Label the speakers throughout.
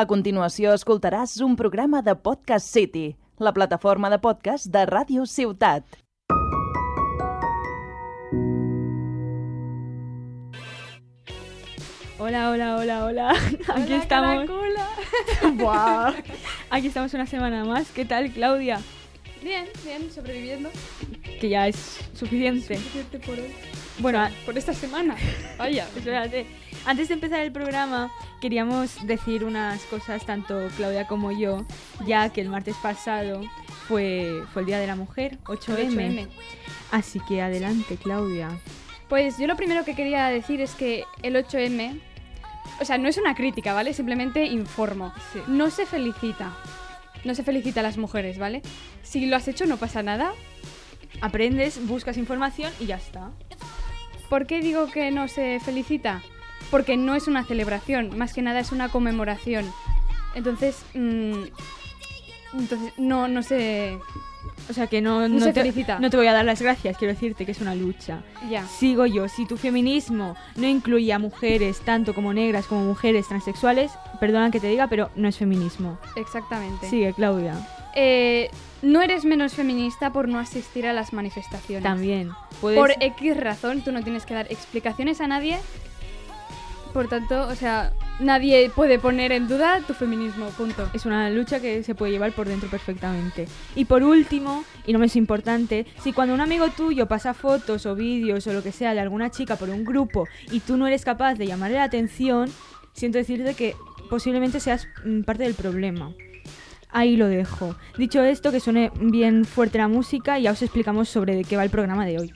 Speaker 1: A continuació escoltaràs un programa de Podcast City, la plataforma de podcast de Ràdio Ciutat.
Speaker 2: Hola, hola, hola, hola. Aquí
Speaker 3: Hola,
Speaker 2: estamos.
Speaker 3: Caracola.
Speaker 2: Buah. Aquí estamos una semana más. ¿Qué tal, Claudia?
Speaker 3: Bien, bien, sobreviviendo.
Speaker 2: Que ya es suficiente.
Speaker 3: Suficiente por hoy.
Speaker 2: Bueno, a-
Speaker 3: Por esta semana. Vaya.
Speaker 2: espérate. Antes de empezar el programa, queríamos decir unas cosas, tanto Claudia como yo, ya que el martes pasado fue, fue el Día de la Mujer, 8M.
Speaker 3: 8M.
Speaker 2: Así que adelante, Claudia.
Speaker 3: Pues yo lo primero que quería decir es que el 8M, o sea, no es una crítica, ¿vale? Simplemente informo.
Speaker 2: Sí.
Speaker 3: No se felicita. No se felicita a las mujeres, ¿vale? Si lo has hecho no pasa nada.
Speaker 2: Aprendes, buscas información y ya está.
Speaker 3: ¿Por qué digo que no se felicita? Porque no es una celebración, más que nada es una conmemoración. Entonces, mm, entonces no, no se...
Speaker 2: O sea que no,
Speaker 3: No se
Speaker 2: te,
Speaker 3: felicita.
Speaker 2: no te voy a dar las gracias, quiero decirte que es una lucha.
Speaker 3: Ya.
Speaker 2: Sigo yo, si tu feminismo no incluye a mujeres tanto como negras como mujeres transexuales, perdona que te diga, pero no es feminismo.
Speaker 3: Exactamente.
Speaker 2: Sigue, Claudia.
Speaker 3: Eh, no eres menos feminista por no asistir a las manifestaciones.
Speaker 2: También. Puedes-
Speaker 3: Por X razón, tú no tienes que dar explicaciones a nadie. Por tanto, o sea, nadie puede poner en duda tu feminismo, punto.
Speaker 2: es una lucha que se puede llevar por dentro perfectamente. Y por último, y no menos importante, si cuando un amigo tuyo pasa fotos o vídeos o lo que sea de alguna chica por un grupo y tú no eres capaz de llamarle la atención, siento decirte que posiblemente seas mm, parte del problema. Ahí lo dejo. Dicho esto, que suene bien fuerte la música y ya os explicamos sobre de qué va el programa de hoy.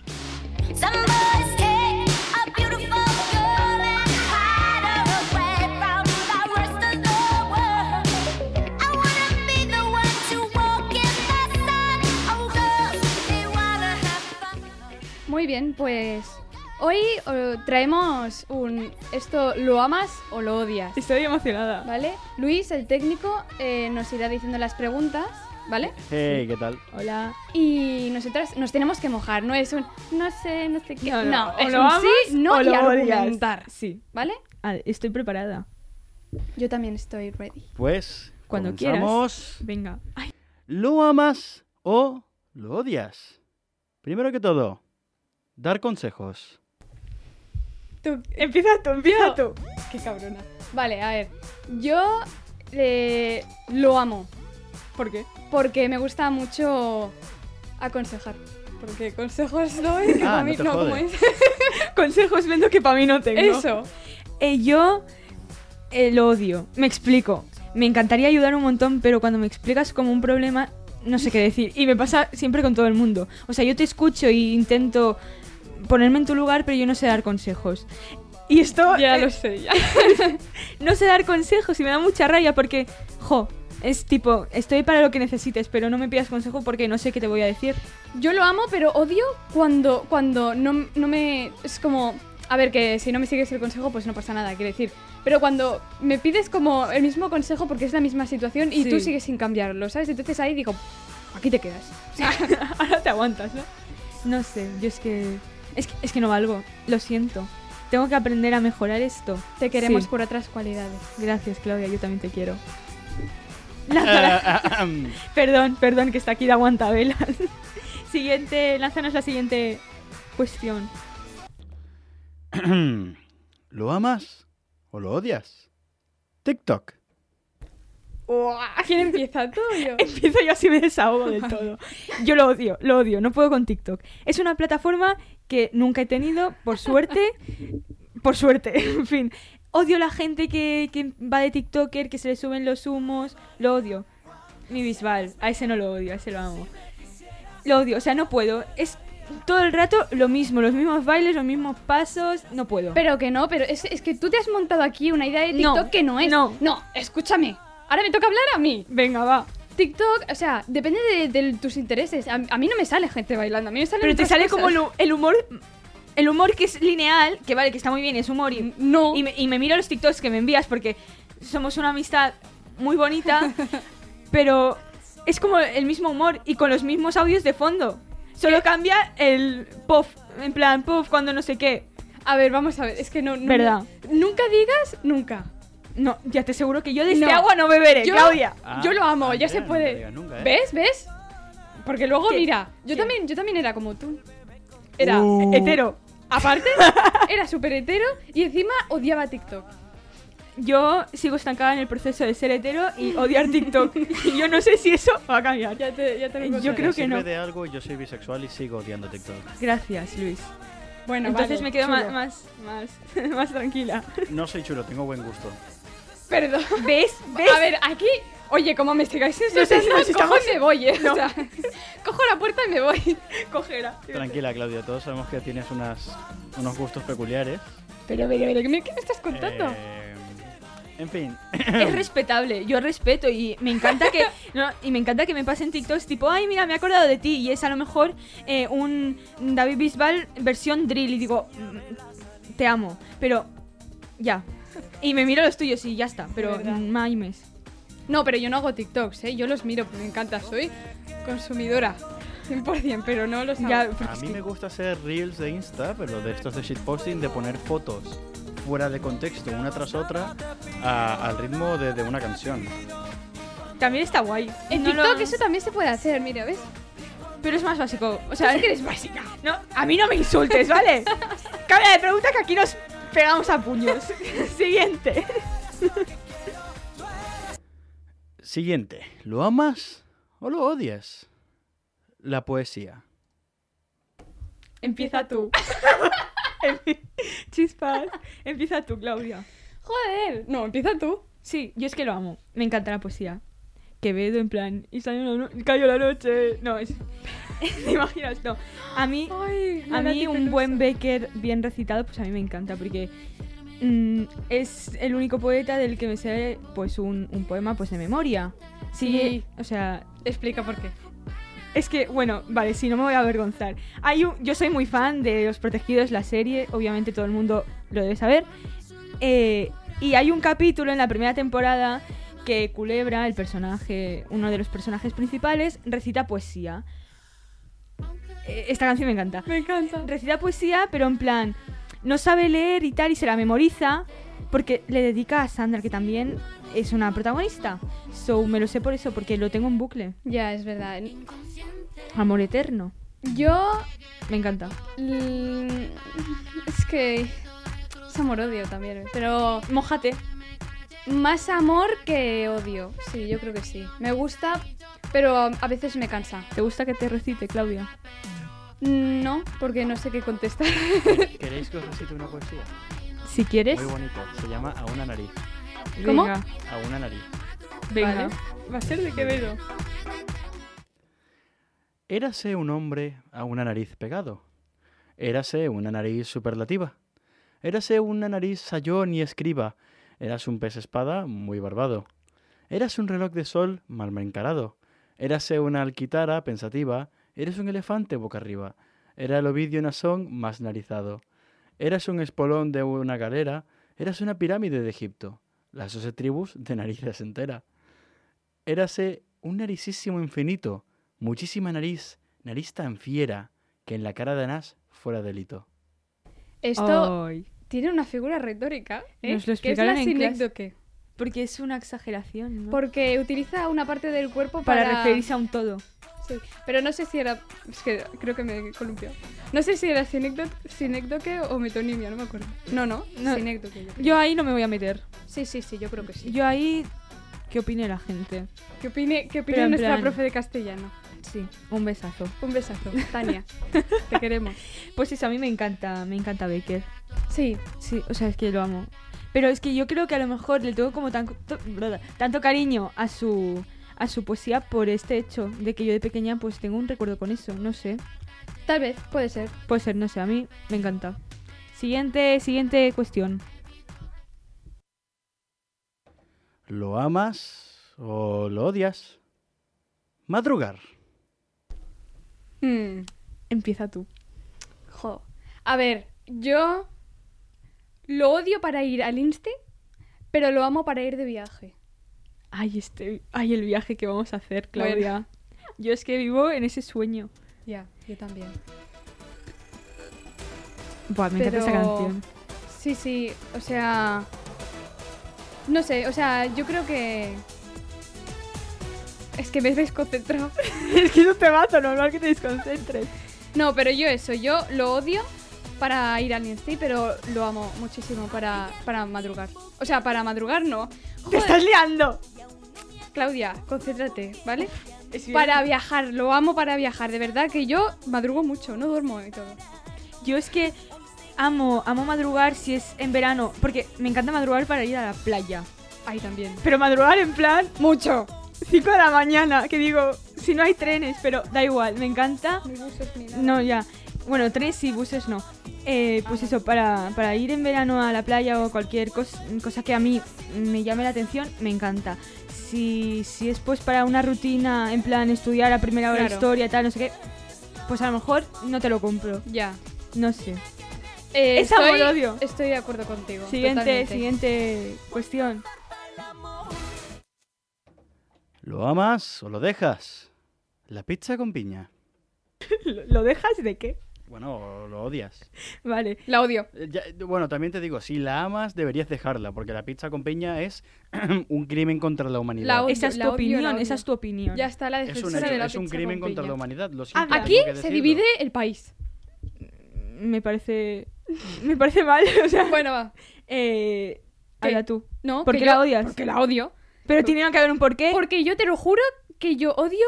Speaker 4: Some boys take a beautiful girl and hide her away from the rest of the world. I wanna be the one to walk in the sun. Oh, girls, they wanna have fun.
Speaker 3: Muy bien, pues hoy eh, traemos un... Esto lo amas o lo odias,
Speaker 2: Estoy emocionada.
Speaker 3: ¿vale? Luis, el técnico, eh, nos irá diciendo las preguntas, ¿vale?
Speaker 5: Hey, ¿qué tal?
Speaker 2: Hola.
Speaker 3: Y nosotras nos tenemos que mojar, no es un no sé, no sé qué. No,
Speaker 2: o
Speaker 3: es
Speaker 2: lo
Speaker 3: un
Speaker 2: amas
Speaker 3: sí, no
Speaker 2: o
Speaker 3: y
Speaker 2: lo odias.
Speaker 3: argumentar,
Speaker 2: Sí.
Speaker 3: ¿vale?
Speaker 2: Ah, Estoy preparada.
Speaker 3: Yo también estoy ready.
Speaker 5: Pues,
Speaker 2: Cuando
Speaker 5: comenzamos.
Speaker 2: Venga.
Speaker 5: ¿Lo amas o lo odias? Primero que todo, dar consejos.
Speaker 2: Empieza tú, empieza tú.
Speaker 3: Qué cabrona. Vale, a ver. Yo eh, lo amo
Speaker 2: ¿Por qué?
Speaker 3: porque me gusta mucho aconsejar. Porque consejos doy que
Speaker 5: Ah,
Speaker 3: pa' mí
Speaker 5: no te
Speaker 3: no, ¿cómo
Speaker 5: jode.
Speaker 3: es?
Speaker 2: Consejos vendo que para mí no tengo.
Speaker 3: Eso.
Speaker 2: Eh, yo el odio. Me explico. Me encantaría ayudar un montón, pero cuando me explicas como un problema, no sé qué decir. Y me pasa siempre con todo el mundo. O sea, yo te escucho y intento ponerme en tu lugar, pero yo no sé dar consejos. Y esto eh,
Speaker 3: sé, ya.
Speaker 2: no sé dar consejos y me da mucha raya porque, jo, es tipo, estoy para lo que necesites, pero no me pidas consejo porque no sé qué te voy a decir.
Speaker 3: Yo lo amo, pero odio cuando, cuando no, no me. Es como. A ver, que si no me sigues el consejo, pues no pasa nada, quiero decir. Pero cuando me pides como el mismo consejo porque es la misma situación y
Speaker 2: Sí.
Speaker 3: tú sigues sin cambiarlo, ¿sabes? Entonces ahí digo, aquí te quedas.
Speaker 2: Ahora te aguantas, ¿no? No sé, yo es que... Es que, es que no valgo, lo siento. Tengo que aprender a mejorar esto.
Speaker 3: Te queremos
Speaker 2: Sí.
Speaker 3: por otras cualidades.
Speaker 2: Gracias, Claudia, yo también te quiero.
Speaker 5: Eh,
Speaker 2: Perdón, perdón, que está aquí de aguantabelas. siguiente, lánzanos la siguiente cuestión.
Speaker 5: ahem. ¿Lo amas o lo odias? TikTok.
Speaker 3: ¿Quién empieza tú o yo?
Speaker 2: Empiezo yo así me desahogo del todo. Yo lo odio, lo odio, no puedo con TikTok. Es una plataforma que nunca he tenido, por suerte, por suerte, en fin. Odio la gente que, que va de TikToker, que se le suben los humos, lo odio. Mi bisbal, a ese no lo odio, a ese lo amo. Lo odio, o sea, no puedo. Es todo el rato lo mismo, los mismos bailes, los mismos pasos, no puedo.
Speaker 3: Pero que no, pero es, es que tú te has montado aquí una idea de
Speaker 2: No,
Speaker 3: TikTok que no es.
Speaker 2: no.
Speaker 3: no, escúchame. Ahora me toca hablar a mí.
Speaker 2: Venga, va.
Speaker 3: TikTok, o sea, depende de, de tus intereses. A, a mí no me sale gente bailando, a mí me sale.
Speaker 2: Pero te sale como el, hu- el humor. El humor que es lineal, que vale, que está muy bien, es humor y
Speaker 3: No.
Speaker 2: Y me, y me miro los TikToks que me envías porque somos una amistad muy bonita, pero es como el mismo humor y con los mismos audios de fondo. Solo cambia el puff, en plan puff cuando no sé qué.
Speaker 3: A ver, vamos a ver, es que no. no-
Speaker 2: Verdad.
Speaker 3: Nunca digas nunca.
Speaker 2: No, ya te aseguro que yo de este
Speaker 3: No.
Speaker 2: agua no beberé,
Speaker 3: Yo-
Speaker 2: Claudia.
Speaker 5: Ah,
Speaker 3: yo lo amo, ya
Speaker 5: mira,
Speaker 3: se
Speaker 5: no
Speaker 3: puede.
Speaker 5: lo digas nunca, ¿eh?
Speaker 3: ¿Ves? ¿Ves? Porque luego,
Speaker 2: ¿Qué?
Speaker 3: mira, yo
Speaker 2: ¿Qué?
Speaker 3: también, yo también era como tú. Era
Speaker 5: Uh.
Speaker 2: Hetero.
Speaker 3: aparte, era súper hetero y encima odiaba TikTok.
Speaker 2: Yo sigo estancada en el proceso de ser hetero y odiar TikTok. y yo no sé si eso va a cambiar.
Speaker 3: Ya te, ya te lo
Speaker 2: Eh, yo
Speaker 3: contaré.
Speaker 2: creo
Speaker 5: Me
Speaker 2: que
Speaker 5: sirve
Speaker 2: no.
Speaker 5: de algo, yo soy bisexual y sigo odiando TikTok.
Speaker 2: Gracias, Luis.
Speaker 3: Bueno,
Speaker 2: Entonces
Speaker 3: vale,
Speaker 2: me quedo ma-
Speaker 3: chulo.
Speaker 2: más, más, más tranquila.
Speaker 5: No soy chulo, tengo buen gusto.
Speaker 3: Perdón.
Speaker 2: ¿Ves? ¿Ves?
Speaker 3: A ver, aquí, oye, como me sigáis insultando,
Speaker 2: nos
Speaker 3: cojo
Speaker 2: estamos-
Speaker 3: y me voy, ¿eh? O sea, cojo la puerta y me voy.
Speaker 2: cojera.
Speaker 5: Tranquila, Claudia, todos sabemos que tienes unas, unos gustos peculiares.
Speaker 3: Pero, pero, pero, ¿qué me, qué me estás contando?
Speaker 5: Eh, en fin,
Speaker 2: Es respetable, yo respeto y me encanta que no, y me encanta que me pasen TikToks tipo, ay mira, me he acordado de ti y es a lo mejor eh, un David Bisbal versión drill y digo, "Mm, te amo, pero ya. Y me miro los tuyos y ya está, pero
Speaker 3: De verdad.
Speaker 2: mm, maimes.
Speaker 3: No, pero yo no hago TikToks, ¿eh? Yo los miro, porque me encanta, soy consumidora. 100%, pero no los hago.
Speaker 2: Ya,
Speaker 5: a mí me gusta hacer reels de Insta, pero de estos de shitposting, de poner fotos fuera de contexto, una tras otra, a- al ritmo de, de una canción.
Speaker 2: También está guay.
Speaker 3: en
Speaker 2: No lo-
Speaker 3: TikTok eso también se puede hacer, mira, ¿ves?
Speaker 2: pero es más básico. O sea,
Speaker 3: que eres básica.
Speaker 2: no, a mí no me insultes, ¿vale? Cambia de pregunta que aquí nos pegamos a puños. Siguiente.
Speaker 5: Siguiente, ¿lo amas o lo odias? La poesía.
Speaker 2: Empieza tú. Empi- Chispas. Empieza tú, Claudia.
Speaker 3: Joder. No, empieza tú.
Speaker 2: Sí, yo es que lo amo. Me encanta la poesía. Quevedo, en plan, y salió la no- cayó la noche. No, es. ¿Te imaginas? No. A mí,
Speaker 3: Ay,
Speaker 2: a mí
Speaker 3: Nati
Speaker 2: un
Speaker 3: Peluso.
Speaker 2: buen Becker bien recitado, pues a mí me encanta porque mm, es el único poeta del que me sé pues un, un poema pues de memoria. sí.
Speaker 3: Sí.
Speaker 2: O sea,
Speaker 3: Explica por qué.
Speaker 2: es que, bueno, vale, sí, no me voy a avergonzar. Hay un- yo soy muy fan de Los Protegidos, la serie, obviamente todo el mundo lo debe saber. Eh, y hay un capítulo en la primera temporada que Culebra, el personaje, uno de los personajes principales, recita poesía. Eh, Esta canción me encanta
Speaker 3: Me encanta.
Speaker 2: recita poesía, pero en plan, no sabe leer y tal, y se la memoriza, porque le dedica a Sandra, que también es una protagonista. So, me lo sé por eso, porque lo tengo en bucle.
Speaker 3: Ya, es verdad.
Speaker 2: Amor eterno.
Speaker 3: Yo...
Speaker 2: Me encanta.
Speaker 3: mm, Es que... Es amor-odio también, ¿eh? pero
Speaker 2: Mójate.
Speaker 3: más amor que odio. Sí, yo creo que sí. Me gusta, pero a- a veces me cansa.
Speaker 2: ¿Te gusta que te recite, Claudia?
Speaker 3: No, porque no sé qué contestar.
Speaker 5: ¿Queréis que os recite una poesía?
Speaker 2: Si quieres.
Speaker 5: Muy bonita, se llama A una nariz.
Speaker 3: ¿Cómo?
Speaker 2: Venga,
Speaker 5: A una nariz.
Speaker 2: venga.
Speaker 3: Vale. Va a ser de Quevedo.
Speaker 5: Érase un hombre a una nariz pegado. Érase una nariz superlativa. Érase una nariz sayón y escriba. Érase un pez espada muy barbado. Érase un reloj de sol mal encarado. Érase una alquitara pensativa. Eres un elefante boca arriba. Era el ovidio nasón más narizado. Érase un espolón de una galera. Érase una pirámide de Egipto. Las doce tribus de narices entera. Érase un naricísimo infinito. Muchísima nariz, nariz tan fiera que en la cara de Anás fuera delito.
Speaker 3: Esto
Speaker 2: Ay,
Speaker 3: tiene una figura retórica. ¿eh?
Speaker 2: Oh. Nos lo
Speaker 3: que es
Speaker 2: explicaron
Speaker 3: la
Speaker 2: en clase.
Speaker 3: sinécdoque,
Speaker 2: porque es una exageración, ¿no?
Speaker 3: Porque utiliza una parte del cuerpo para.
Speaker 2: para... referirse a un todo.
Speaker 3: Sí, pero no sé si era. Es que creo que me columpio. No sé si era sinécdo- sinécdoque o metonimia, no me acuerdo. No, no,
Speaker 2: No.
Speaker 3: sinécdoque. yo creo.
Speaker 2: Yo ahí no me voy a meter.
Speaker 3: Sí, sí, sí, yo creo que sí.
Speaker 2: Yo ahí. ¿Qué opine la gente?
Speaker 3: ¿Qué opine, qué opine
Speaker 2: Pero en
Speaker 3: nuestra
Speaker 2: plan-
Speaker 3: profe de castellano?
Speaker 2: Sí, un besazo.
Speaker 3: Un besazo, Tania. te queremos.
Speaker 2: Pues eso, a mí me encanta, me encanta Becker.
Speaker 3: Sí,
Speaker 2: Sí, o sea, es que lo amo. Pero es que yo creo que a lo mejor le tengo como tan- to- brada, tanto cariño a su, a su poesía por este hecho de que yo de pequeña pues tengo un recuerdo con eso, no sé.
Speaker 3: tal vez, puede ser.
Speaker 2: Puede ser, no sé, a mí me encanta. Siguiente, siguiente cuestión.
Speaker 5: ¿Lo amas o lo odias? Madrugar.
Speaker 3: Mm.
Speaker 2: Empieza tú.
Speaker 3: Jo. A ver, yo lo odio para ir al Inste, pero lo amo para ir de viaje.
Speaker 2: Ay, este, ay, el viaje que vamos a hacer,
Speaker 3: Bueno.
Speaker 2: Claudia. Yo es que vivo en ese sueño.
Speaker 3: Ya, yo también.
Speaker 2: Buah, me encanta esa
Speaker 3: Pero-
Speaker 2: canción.
Speaker 3: Sí, sí, o sea, No sé, o sea, yo creo que. Es que me he desconcentrado.
Speaker 2: es que eso te mato, normal que te desconcentres.
Speaker 3: No, pero yo eso, yo lo odio para ir al Nancy, pero lo amo muchísimo para, para madrugar. O sea, para madrugar no.
Speaker 2: ¡Te
Speaker 3: Joder,
Speaker 2: estás liando!
Speaker 3: Claudia, concéntrate, ¿vale? Para viajar, lo amo para viajar. De verdad que yo madrugo mucho, no duermo y todo.
Speaker 2: Yo es que amo, amo madrugar si es en verano, porque me encanta madrugar para ir a la playa.
Speaker 3: Ahí también.
Speaker 2: Pero madrugar en plan
Speaker 3: Mucho.
Speaker 2: 5 de la mañana, que digo, si no hay trenes, pero da igual, me encanta.
Speaker 3: Ni buses ni nada.
Speaker 2: No, ya. Bueno, trenes y buses no. Eh, pues eso, para, para ir en verano a la playa o cualquier cos- cosa que a mí me llame la atención, me encanta. Si, si es pues para una rutina, en plan estudiar a primera hora
Speaker 3: Claro.
Speaker 2: historia, tal, no sé qué, pues a lo mejor no te lo compro.
Speaker 3: Ya.
Speaker 2: No sé.
Speaker 3: Eh,
Speaker 2: Es amor,
Speaker 3: estoy-
Speaker 2: odio.
Speaker 3: Estoy de acuerdo contigo.
Speaker 2: Siguiente,
Speaker 3: totalmente.
Speaker 2: siguiente cuestión.
Speaker 5: ¿Lo amas o lo dejas? La pizza con piña.
Speaker 2: ¿Lo dejas de qué?
Speaker 5: Bueno, o lo odias.
Speaker 2: Vale.
Speaker 3: La odio.
Speaker 5: Eh, ya- bueno, también te digo, si la amas, deberías dejarla, porque la pizza con piña es un crimen contra la humanidad.
Speaker 3: La odio,
Speaker 2: Esa es tu
Speaker 3: la odio, la
Speaker 2: opinión,
Speaker 3: odio.
Speaker 2: esa es tu opinión.
Speaker 3: Ya está la
Speaker 5: es un,
Speaker 3: defensora
Speaker 5: hecho,
Speaker 3: de la
Speaker 5: es un
Speaker 3: pizza
Speaker 5: crimen
Speaker 3: con
Speaker 5: contra la
Speaker 3: piña.
Speaker 5: humanidad. Lo siento,
Speaker 2: Habla.
Speaker 5: tengo
Speaker 3: Aquí
Speaker 5: que
Speaker 3: se
Speaker 5: decirlo.
Speaker 3: divide el país.
Speaker 2: Me parece. Me parece mal. O sea,
Speaker 3: Bueno, va.
Speaker 2: eh,
Speaker 3: ¿Qué?
Speaker 2: habla tú.
Speaker 3: No,
Speaker 2: ¿Por
Speaker 3: que
Speaker 2: qué
Speaker 3: yo-
Speaker 2: la odias? Eh.
Speaker 3: Porque la odio.
Speaker 2: Pero tiene que haber un porqué.
Speaker 3: Porque yo te lo juro que yo odio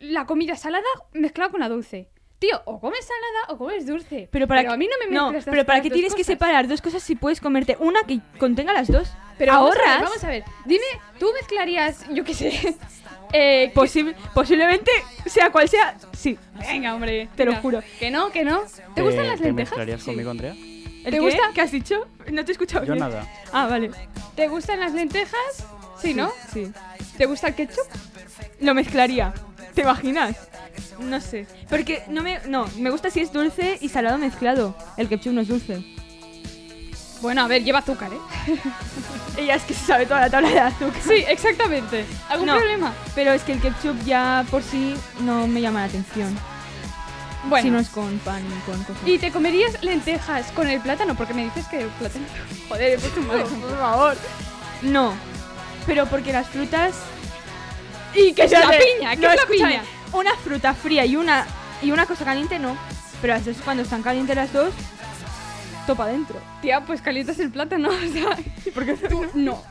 Speaker 3: la comida salada mezclada con la dulce. Tío, o comes salada o comes dulce.
Speaker 2: Pero para
Speaker 3: a
Speaker 2: qué-
Speaker 3: mí no me
Speaker 2: no,
Speaker 3: mezclas las-
Speaker 2: pero para
Speaker 3: las
Speaker 2: qué
Speaker 3: dos
Speaker 2: tienes que
Speaker 3: cosas.
Speaker 2: separar dos cosas si puedes comerte una que contenga las dos.
Speaker 3: Pero vamos a ver,
Speaker 2: ahorras.
Speaker 3: Vamos a ver, dime, tú mezclarías, yo qué sé. eh, que-
Speaker 2: Posi- posiblemente sea cual sea, sí.
Speaker 3: Venga, hombre,
Speaker 2: Te lo
Speaker 3: mira.
Speaker 2: juro.
Speaker 3: Que no, que no. ¿Te,
Speaker 5: ¿Te,
Speaker 3: gustan las
Speaker 5: te
Speaker 3: lentejas?
Speaker 5: mezclarías conmigo, Andrea?
Speaker 2: ¿El
Speaker 3: ¿Te
Speaker 2: qué?
Speaker 3: gusta?
Speaker 2: ¿Qué has dicho? No te he escuchado
Speaker 5: Yo
Speaker 2: bien.
Speaker 5: nada.
Speaker 2: Ah, vale.
Speaker 3: ¿Te gustan las lentejas? Sí, ¿no?
Speaker 2: Sí.
Speaker 3: ¿Te gusta el ketchup?
Speaker 2: Lo mezclaría. ¿Te imaginas? No sé. Porque no me no, me gusta si es dulce y salado mezclado. El ketchup no es dulce.
Speaker 3: Bueno, a ver, lleva azúcar, ¿eh?
Speaker 2: Ella es que se sabe toda la tabla de azúcar.
Speaker 3: Sí, exactamente. ¿Algún
Speaker 2: No.
Speaker 3: problema?
Speaker 2: Pero es que el ketchup ya por sí no me llama la atención.
Speaker 3: Bueno.
Speaker 2: Si no es con pan y con cosas.
Speaker 3: ¿Y te comerías lentejas con el plátano? Porque me dices que el plátano. Joder, he puesto un mal ejemplo.
Speaker 2: favor. No. Pero porque las frutas.
Speaker 3: ¿Y qué es la
Speaker 2: Espérate,
Speaker 3: piña? ¿Qué
Speaker 2: no,
Speaker 3: es la
Speaker 2: escúchame,
Speaker 3: piña?
Speaker 2: Una fruta fría y una y una cosa caliente no. Pero las dos cuando están calientes las dos, topa adentro.
Speaker 3: Tía, pues calientas el plátano, o sea. Porque tú no.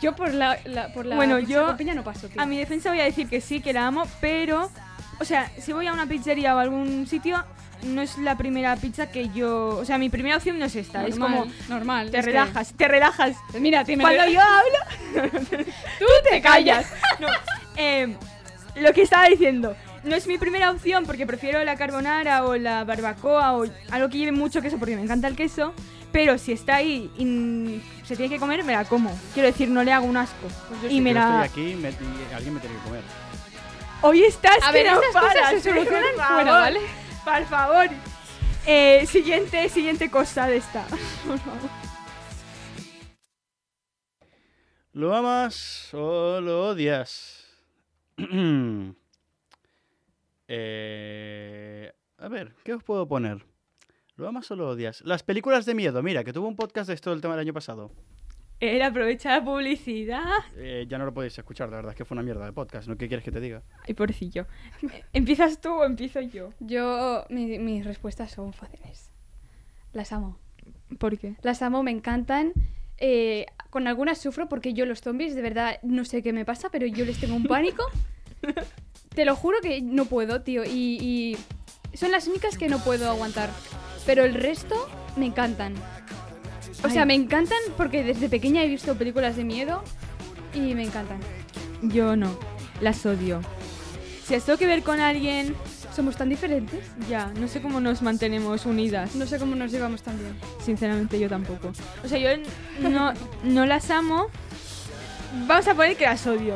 Speaker 3: Yo por la, la- por la
Speaker 2: Bueno,
Speaker 3: pizza
Speaker 2: yo-
Speaker 3: con piña no paso, tío.
Speaker 2: A mi defensa voy a decir que sí, que la amo, pero. O sea, si voy a una pizzería o a algún sitio, no es la primera pizza que yo. O sea, mi primera opción no es esta.
Speaker 3: normal,
Speaker 2: es como.
Speaker 3: normal.
Speaker 2: Te
Speaker 3: es que-
Speaker 2: relajas, te relajas.
Speaker 3: Mira, tío, me
Speaker 2: Cuando
Speaker 3: lo-
Speaker 2: yo hablo,
Speaker 3: tú te callas.
Speaker 2: No, eh, lo que estaba diciendo. No es mi primera opción porque prefiero la carbonara o la barbacoa o algo que lleve mucho queso porque me encanta el queso. Pero si está ahí y mm, se tiene que comer, me la como. Quiero decir, no le hago un asco.
Speaker 5: Yo
Speaker 2: y me la.
Speaker 5: estoy aquí me- y alguien me tiene que comer.
Speaker 2: Hoy estás.
Speaker 3: A ver,
Speaker 2: que no
Speaker 3: estas cosas
Speaker 2: paras,
Speaker 3: se solucionan
Speaker 2: por
Speaker 3: fuera,
Speaker 2: favor,
Speaker 3: ¿vale?
Speaker 2: Por favor. Eh, siguiente, siguiente cosa de esta.
Speaker 5: ¿Lo amas o lo odias? Eh, a ver, ¿qué os puedo poner? ¿Lo amas o lo odias? Las películas de miedo. Mira, que tuvo un podcast de esto el tema del año pasado.
Speaker 2: Él aprovecha la publicidad.
Speaker 5: Eh, ya no lo podéis escuchar, la verdad es que fue una mierda de podcast. ¿no? ¿Qué quieres que te diga?
Speaker 2: Ay, pobrecillo. ¿Empiezas tú o empiezo yo?
Speaker 3: Yo, mi- mis respuestas son fáciles. Las amo.
Speaker 2: ¿Por qué?
Speaker 3: Las amo, me encantan. Eh, con algunas sufro porque yo los zombies, de verdad, no sé qué me pasa, pero yo les tengo un pánico. Te lo juro que no puedo, tío. Y, y son las únicas que no puedo aguantar. Pero el resto me encantan. O sea,
Speaker 2: Ay.
Speaker 3: me encantan porque desde pequeña he visto películas de miedo y me encantan.
Speaker 2: Yo no, las odio. Si has tengo que ver con alguien,
Speaker 3: Somos tan diferentes.
Speaker 2: ya, no sé cómo nos mantenemos unidas.
Speaker 3: No sé cómo nos llevamos tan bien.
Speaker 2: Sinceramente yo tampoco. O sea, yo n- no, no las amo. Vamos a poner que las odio.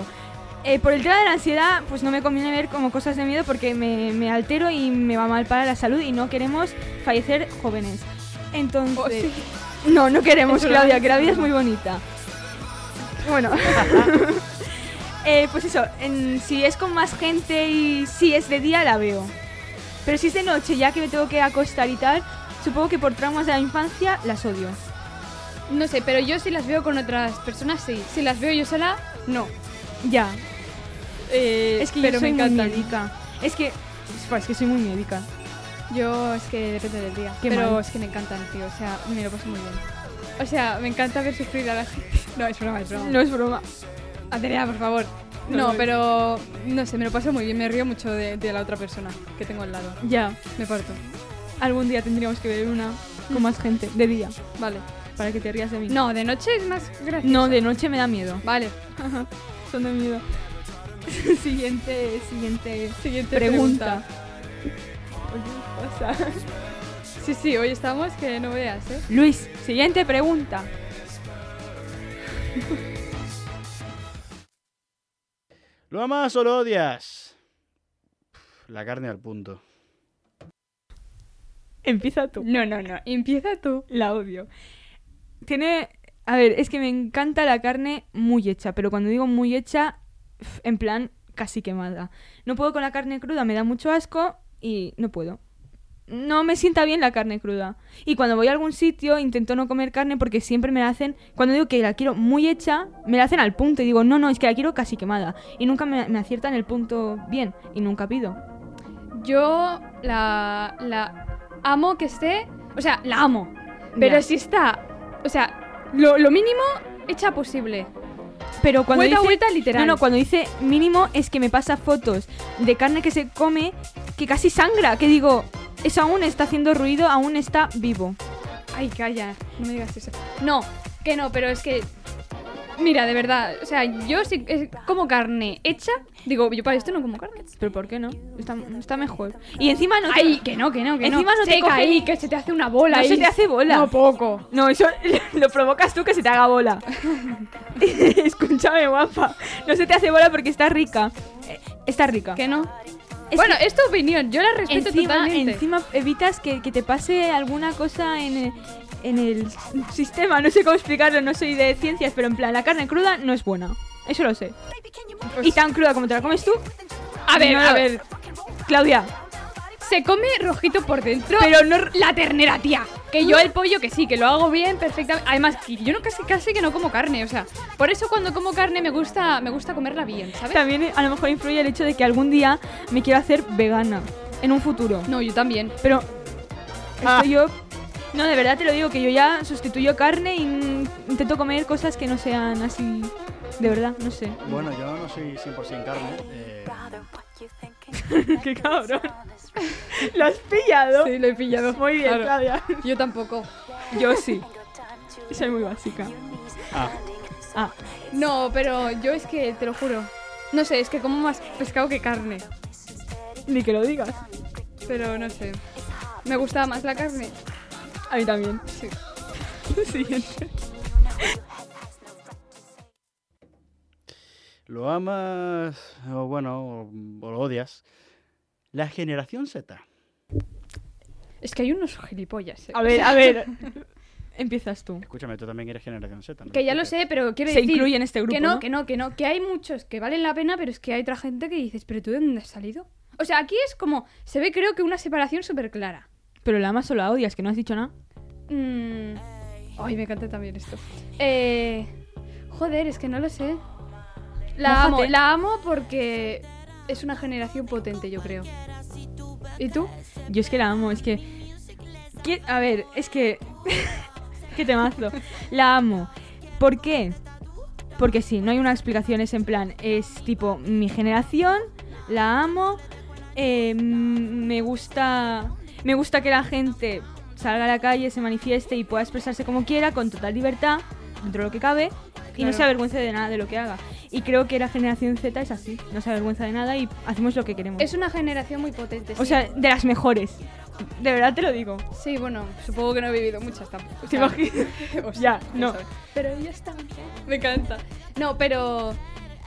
Speaker 2: Eh, por el tema de la ansiedad, pues no me conviene ver como cosas de miedo porque me, me altero y me va mal para la salud y no queremos fallecer jóvenes. Entonces...
Speaker 3: Oh, sí.
Speaker 2: No, no queremos,
Speaker 3: Eso lo
Speaker 2: Claudia,
Speaker 3: haces
Speaker 2: que la vida
Speaker 3: tú.
Speaker 2: es muy bonita. Bueno. Eh, pues eso, en- si es con más gente y si es de día, la veo. Pero si es de noche, ya que me tengo que acostar y tal, supongo que por traumas de la infancia las odio.
Speaker 3: No sé, pero yo si las veo con otras personas, sí. Si las veo yo sola, no.
Speaker 2: Ya,
Speaker 3: Eh,
Speaker 2: es que
Speaker 3: pero
Speaker 2: yo soy
Speaker 3: me
Speaker 2: muy
Speaker 3: encantan.
Speaker 2: miedica. Es que, pues, es que soy muy miedica.
Speaker 3: Yo es que depende del día.
Speaker 2: Qué
Speaker 3: pero
Speaker 2: mal.
Speaker 3: es que me encantan, tío. O sea, me lo paso muy bien. O sea, me encanta ver sufrir a la gente. No, es broma, es broma.
Speaker 2: No es broma.
Speaker 3: Andrea, por favor.
Speaker 2: No,
Speaker 3: No, pero no sé, me lo paso muy bien. Me río mucho de, de la otra persona que tengo al lado.
Speaker 2: Ya,
Speaker 3: Me parto.
Speaker 2: algún día tendríamos que ver una con más gente, de día,
Speaker 3: Vale.
Speaker 2: para que te rías de mí.
Speaker 3: No, de noche es más gracioso.
Speaker 2: No, de noche me da miedo.
Speaker 3: Vale.
Speaker 2: Son de miedo. siguiente, siguiente
Speaker 3: Siguiente
Speaker 2: pregunta.
Speaker 3: pregunta. Sí, sí, hoy estamos que no veas, ¿eh?
Speaker 2: Luis, siguiente pregunta.
Speaker 5: ¿Lo amas o lo odias? Pf, La carne al punto.
Speaker 2: Empieza tú.
Speaker 3: No, no, no. Empieza tú.
Speaker 2: La odio. Tiene. A ver, es que me encanta la carne muy hecha, pero cuando digo muy hecha, f- en plan casi quemada. No puedo con la carne cruda, me da mucho asco y no puedo. No me sienta bien la carne cruda. Y cuando voy a algún sitio intento no comer carne porque siempre me la hacen, cuando digo que la quiero muy hecha, me la hacen al punto y digo, no, no, es que la quiero casi quemada. Y nunca me, me aciertan el punto bien y nunca pido.
Speaker 3: Yo la, la amo que esté. O sea, la amo. Pero
Speaker 2: Ya.
Speaker 3: si está. O sea, lo, lo mínimo hecha posible.
Speaker 2: Pero cuando
Speaker 3: Vuelta,
Speaker 2: dice,
Speaker 3: vuelta, literal.
Speaker 2: No, no, cuando dice mínimo es que me pasa fotos de carne que se come que casi sangra, que digo, eso aún está haciendo ruido, aún está vivo.
Speaker 3: Ay, calla, no me digas eso. No, que no, pero es que. Mira, de verdad, o sea, yo sí eh, como carne hecha, digo, yo para esto no como carne.
Speaker 2: Pero ¿por qué no? Está, está mejor. Y encima no te-
Speaker 3: Ay, que no, que no, que
Speaker 2: Encima no te
Speaker 3: Seca
Speaker 2: coge-
Speaker 3: ahí, que se te hace una bola
Speaker 2: No
Speaker 3: ahí.
Speaker 2: se te hace bola.
Speaker 3: No, poco.
Speaker 2: No, eso lo provocas tú que se te haga bola. Escúchame, guapa. No se te hace bola porque está rica. Eh, Está rica.
Speaker 3: Que no.
Speaker 2: Es
Speaker 3: bueno,
Speaker 2: que-
Speaker 3: es tu opinión, yo la respeto
Speaker 2: Encima,
Speaker 3: totalmente.
Speaker 2: encima evitas que, que te pase alguna cosa en el, en el sistema. No sé cómo explicarlo, no soy de ciencias, pero en plan, la carne cruda no es buena. Eso lo sé. Y tan cruda como te la comes tú,
Speaker 3: a ver,
Speaker 2: no,
Speaker 3: a ver.
Speaker 2: Claudia.
Speaker 3: Se come rojito por dentro.
Speaker 2: Pero no.
Speaker 3: la ternera, tía. Que yo el pollo que sí, que lo hago bien, perfectamente. Además, que yo no casi casi que no como carne, o sea, por eso cuando como carne me gusta me gusta comerla bien, ¿sabes?
Speaker 2: También a lo mejor influye el hecho de que algún día me quiero hacer vegana. En un futuro.
Speaker 3: No, yo también.
Speaker 2: Pero. Esto yo. No, de verdad te lo digo, que yo ya sustituyo carne y intento comer cosas que no sean así. De verdad, no sé.
Speaker 5: Bueno, yo no soy 100% carne. eh,
Speaker 2: ¡Qué cabrón! ¿Lo has pillado?
Speaker 3: Sí, lo he pillado.
Speaker 2: Muy bien,
Speaker 3: Claro.
Speaker 2: Claudia.
Speaker 3: Yo tampoco.
Speaker 2: Yo sí. Soy muy básica.
Speaker 5: ah,
Speaker 2: Ah,
Speaker 3: No, pero yo es que te lo juro. No sé, es que como más pescado que carne.
Speaker 2: ni que lo digas.
Speaker 3: Pero no sé. Me gusta más la carne.
Speaker 2: A mí también.
Speaker 3: Sí.
Speaker 2: Siguiente.
Speaker 5: ¿Lo amas o bueno, o, o lo odias? La generación Z.
Speaker 3: Es que hay unos gilipollas. eh.
Speaker 2: A ver, a ver. Empiezas tú.
Speaker 5: Escúchame, tú también eres generación Z. ¿no?
Speaker 3: Que ya lo sé, pero quiero
Speaker 2: Se
Speaker 3: decir
Speaker 2: incluye en este grupo.
Speaker 3: que no,
Speaker 2: ¿no?
Speaker 3: que no, que no, que hay muchos que valen la pena, pero es que hay otra gente que dices, pero tú de dónde has salido? O sea, aquí es como se ve creo que una separación súper clara.
Speaker 2: Pero la amas o la odias, que no has dicho nada.
Speaker 3: Mm. Ay, me encanta también esto. Eh, joder, es que no lo sé.
Speaker 2: Mójate.
Speaker 3: La amo, la amo porque es una generación potente, yo creo. ¿Y tú?
Speaker 2: Yo es que la amo, es que. que- A ver, es que. Qué temazo. La amo. ¿Por qué? Porque sí, no hay una explicación, es en plan, es tipo mi generación, la amo, eh, mm, me gusta. Me gusta que la gente salga a la calle, se manifieste y pueda expresarse como quiera, con total libertad, dentro de lo que cabe, y no
Speaker 3: Claro.
Speaker 2: se avergüence de nada de lo que haga. Y creo que la generación Z es así, no se avergüenza de nada y hacemos lo que queremos.
Speaker 3: Es una generación muy potente.
Speaker 2: O
Speaker 3: sí.
Speaker 2: sea, de las mejores. De verdad te lo digo.
Speaker 3: sí, bueno, supongo que no he vivido muchas tampoco. o
Speaker 2: ¿Te
Speaker 3: sea,
Speaker 2: imaginas?
Speaker 3: o
Speaker 2: Ya,
Speaker 3: sea,
Speaker 2: no.
Speaker 3: sabes. Pero ya está. ¿eh? Me encanta. No, pero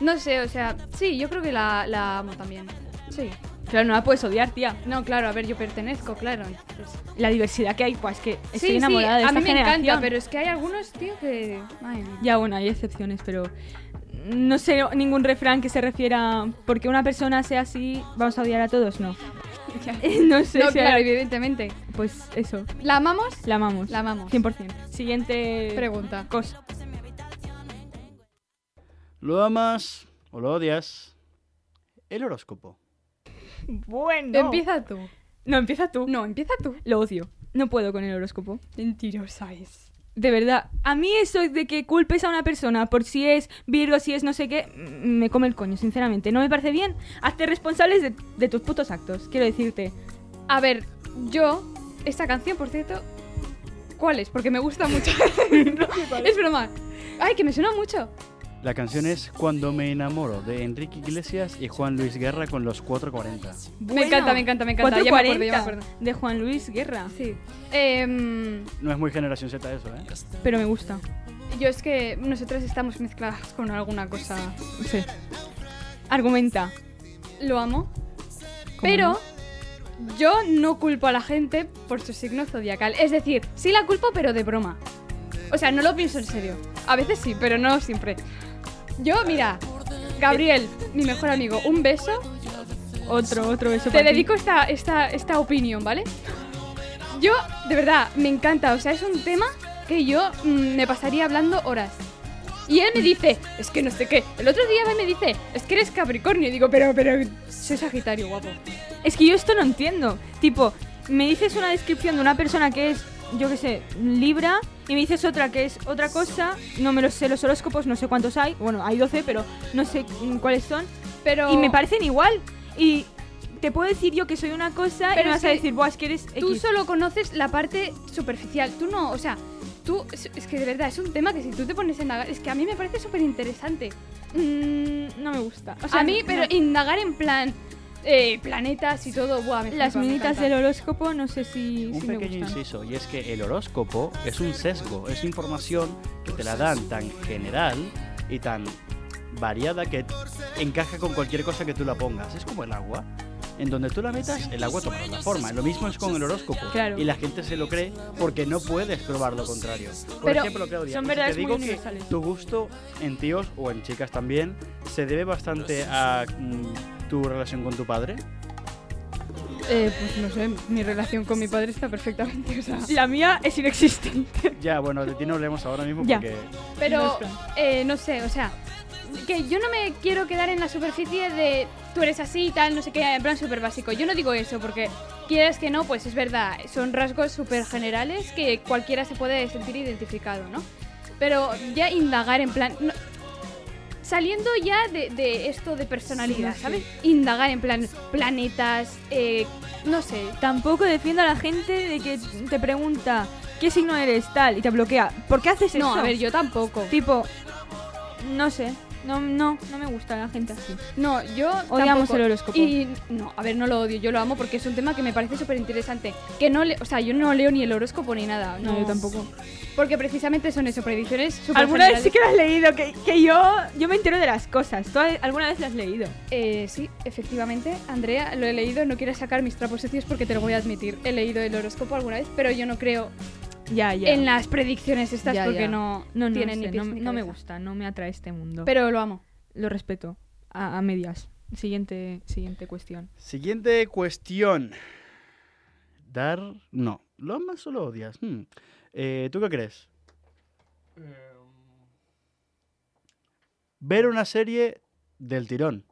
Speaker 3: no sé, o sea, sí, yo creo que la, la amo también. Sí.
Speaker 2: Claro, no la puedes odiar, tía.
Speaker 3: No, claro, a ver, yo pertenezco, claro. entonces-
Speaker 2: La diversidad que hay, pues que estoy
Speaker 3: sí,
Speaker 2: enamorada
Speaker 3: sí,
Speaker 2: de
Speaker 3: a
Speaker 2: esta
Speaker 3: mí me
Speaker 2: generación.
Speaker 3: encanta, pero es que hay algunos, tío, que... Ay, no.
Speaker 2: Ya, bueno, hay excepciones, pero no sé ningún refrán que se refiera porque una persona sea así, vamos a odiar a todos, no. no sé
Speaker 3: no,
Speaker 2: si
Speaker 3: claro,
Speaker 2: era-
Speaker 3: evidentemente.
Speaker 2: Pues eso,
Speaker 3: ¿La amamos?
Speaker 2: la amamos.
Speaker 3: La amamos.
Speaker 2: 100%. Siguiente
Speaker 3: Pregunta.
Speaker 2: cosa.
Speaker 5: ¿Lo amas o lo odias? El horóscopo.
Speaker 2: Bueno.
Speaker 3: Empieza tú.
Speaker 2: No, empieza tú.
Speaker 3: No, empieza tú.
Speaker 2: Lo odio. No puedo con el horóscopo.
Speaker 3: Mentirosa es.
Speaker 2: De verdad, a mí eso de que culpes a una persona por si es Virgo, si es no sé qué, mm, me come el coño, sinceramente. No me parece bien. Hazte responsables de, de tus putos actos, quiero decirte.
Speaker 3: A ver, yo, esta canción, por cierto, ¿cuál es? Porque me gusta mucho. es. broma. Ay, que me suena mucho.
Speaker 5: La canción es Cuando me enamoro de Enrique Iglesias y Juan Luis Guerra con los 440.
Speaker 2: Bueno,
Speaker 3: me encanta, me encanta, me encanta. Ya me acuerdo, ya me acuerdo.
Speaker 2: 440 de Juan Luis Guerra.
Speaker 3: Sí. Em,
Speaker 5: No es muy generación Z eso, ¿eh?
Speaker 2: Pero me gusta.
Speaker 3: yo es que nosotras estamos mezcladas con alguna cosa.
Speaker 2: Sí. Argumenta.
Speaker 3: Lo amo.
Speaker 2: ¿Cómo
Speaker 3: Pero yo no culpo a la gente por su signo zodiacal. Es decir, sí la culpo, pero de broma. O sea, no lo pienso en serio. A veces sí, pero no siempre. Yo, mira, Gabriel, mi mejor amigo, un beso.
Speaker 2: no? Otro, otro beso.
Speaker 3: Te
Speaker 2: para ti.
Speaker 3: dedico esta, esta, esta opinión, ¿vale? Yo, de verdad, me encanta. O sea, es un tema que yo mm, me pasaría hablando horas. Y él me dice, es que no sé qué. El otro día va y me dice, es que eres Capricornio. Y digo, pero, pero, soy Sagitario, guapo.
Speaker 2: Es que yo esto no entiendo. Tipo, me dices una descripción de una persona que es, yo qué sé, Libra, y me dices otra que es otra cosa. No me lo sé, los horóscopos, no sé cuántos hay. Bueno, hay 12, pero no sé mm, cuáles son.
Speaker 3: Pero...
Speaker 2: Y me parecen igual. Y te puedo decir yo que soy una cosa,
Speaker 3: Pero
Speaker 2: y me
Speaker 3: es
Speaker 2: vas a
Speaker 3: que
Speaker 2: decir, Buah, es que eres
Speaker 3: Tú
Speaker 2: X".
Speaker 3: solo conoces la parte superficial, tú no, o sea, tú, es es que de verdad, es un tema que si tú te pones a indagar, es que a mí me parece súper interesante.
Speaker 2: Mm, no me gusta. O sea,
Speaker 3: a mí,
Speaker 2: no-
Speaker 3: pero indagar en plan, eh, planetas y todo, buah, me
Speaker 2: Las
Speaker 3: flipa, me
Speaker 2: minitas del
Speaker 3: encanta.
Speaker 2: horóscopo, no sé si,
Speaker 5: Un
Speaker 2: si me
Speaker 5: pequeño
Speaker 2: gustan.
Speaker 5: inciso, y es que el horóscopo es un sesgo, es información que te la dan tan general y tan variada que encaja con cualquier cosa que tú la pongas. Es como el agua. En donde tú la metas, el agua toma la forma. Lo mismo es con el horóscopo.
Speaker 2: Claro.
Speaker 5: Y la gente se lo cree porque no puedes probar lo contrario. Por
Speaker 3: Pero
Speaker 5: ejemplo, Claudia,
Speaker 2: son
Speaker 5: si
Speaker 2: verdades
Speaker 5: te
Speaker 2: muy
Speaker 5: digo que
Speaker 2: universales.
Speaker 5: tu gusto en tíos o en chicas también se debe bastante a mm, tu relación con tu padre.
Speaker 3: Eh, pues no sé, mi relación con mi padre está perfectamente, o sea.
Speaker 2: La mía es inexistente.
Speaker 5: Ya, bueno, de ti no hablemos ahora mismo
Speaker 2: Ya.
Speaker 5: porque
Speaker 2: No
Speaker 3: Pero,
Speaker 2: es plan.
Speaker 3: eh, no sé, o sea, que yo no me quiero quedar en la superficie de tú eres así y tal, no sé qué, en plan súper básico. Yo no digo eso porque quieras que no, pues es verdad, son rasgos súper generales que cualquiera se puede sentir identificado, ¿no? Pero ya indagar en plan... no- saliendo ya de, de esto de personalidad,
Speaker 2: Sí, no sé.
Speaker 3: ¿sabes? Indagar en plan planetas, eh, no sé.
Speaker 2: Tampoco defiendo a la gente de que te pregunta qué signo eres tal y te bloquea. ¿Por qué haces
Speaker 3: No,
Speaker 2: eso?
Speaker 3: a ver, yo tampoco.
Speaker 2: Tipo, no sé. No, no, no me gusta la gente así.
Speaker 3: No, yo
Speaker 2: Odiamos
Speaker 3: tampoco.
Speaker 2: el horóscopo.
Speaker 3: Y no, a ver, no lo odio, yo lo amo porque es un tema que me parece súper interesante. Que no, le- o sea, yo no leo ni el horóscopo ni nada. No, Porque precisamente son eso, predicciones súper
Speaker 2: Alguna vez sí
Speaker 3: generales.
Speaker 2: que lo has leído, que, que yo, yo me entero de las cosas. ¿Tú alguna vez las has leído?
Speaker 3: Eh, sí, efectivamente, Andrea, lo he leído, no quiero sacar mis trapos sucios porque te lo voy a admitir. He leído el horóscopo alguna vez, pero yo no creo
Speaker 2: Ya, ya.
Speaker 3: en las predicciones estas
Speaker 2: Ya,
Speaker 3: porque
Speaker 2: ya.
Speaker 3: no,
Speaker 2: no, no,
Speaker 3: tienen
Speaker 2: sé,
Speaker 3: ni
Speaker 2: no,
Speaker 3: pies ni
Speaker 2: no me
Speaker 3: cabeza.
Speaker 2: gusta, no me atrae este mundo.
Speaker 3: Pero lo amo.
Speaker 2: lo respeto a, a medias. Siguiente, siguiente cuestión.
Speaker 5: Siguiente cuestión. Dar. No. ¿Lo amas o lo odias? Hmm. Eh, ¿Tú qué crees? Ver una serie del tirón.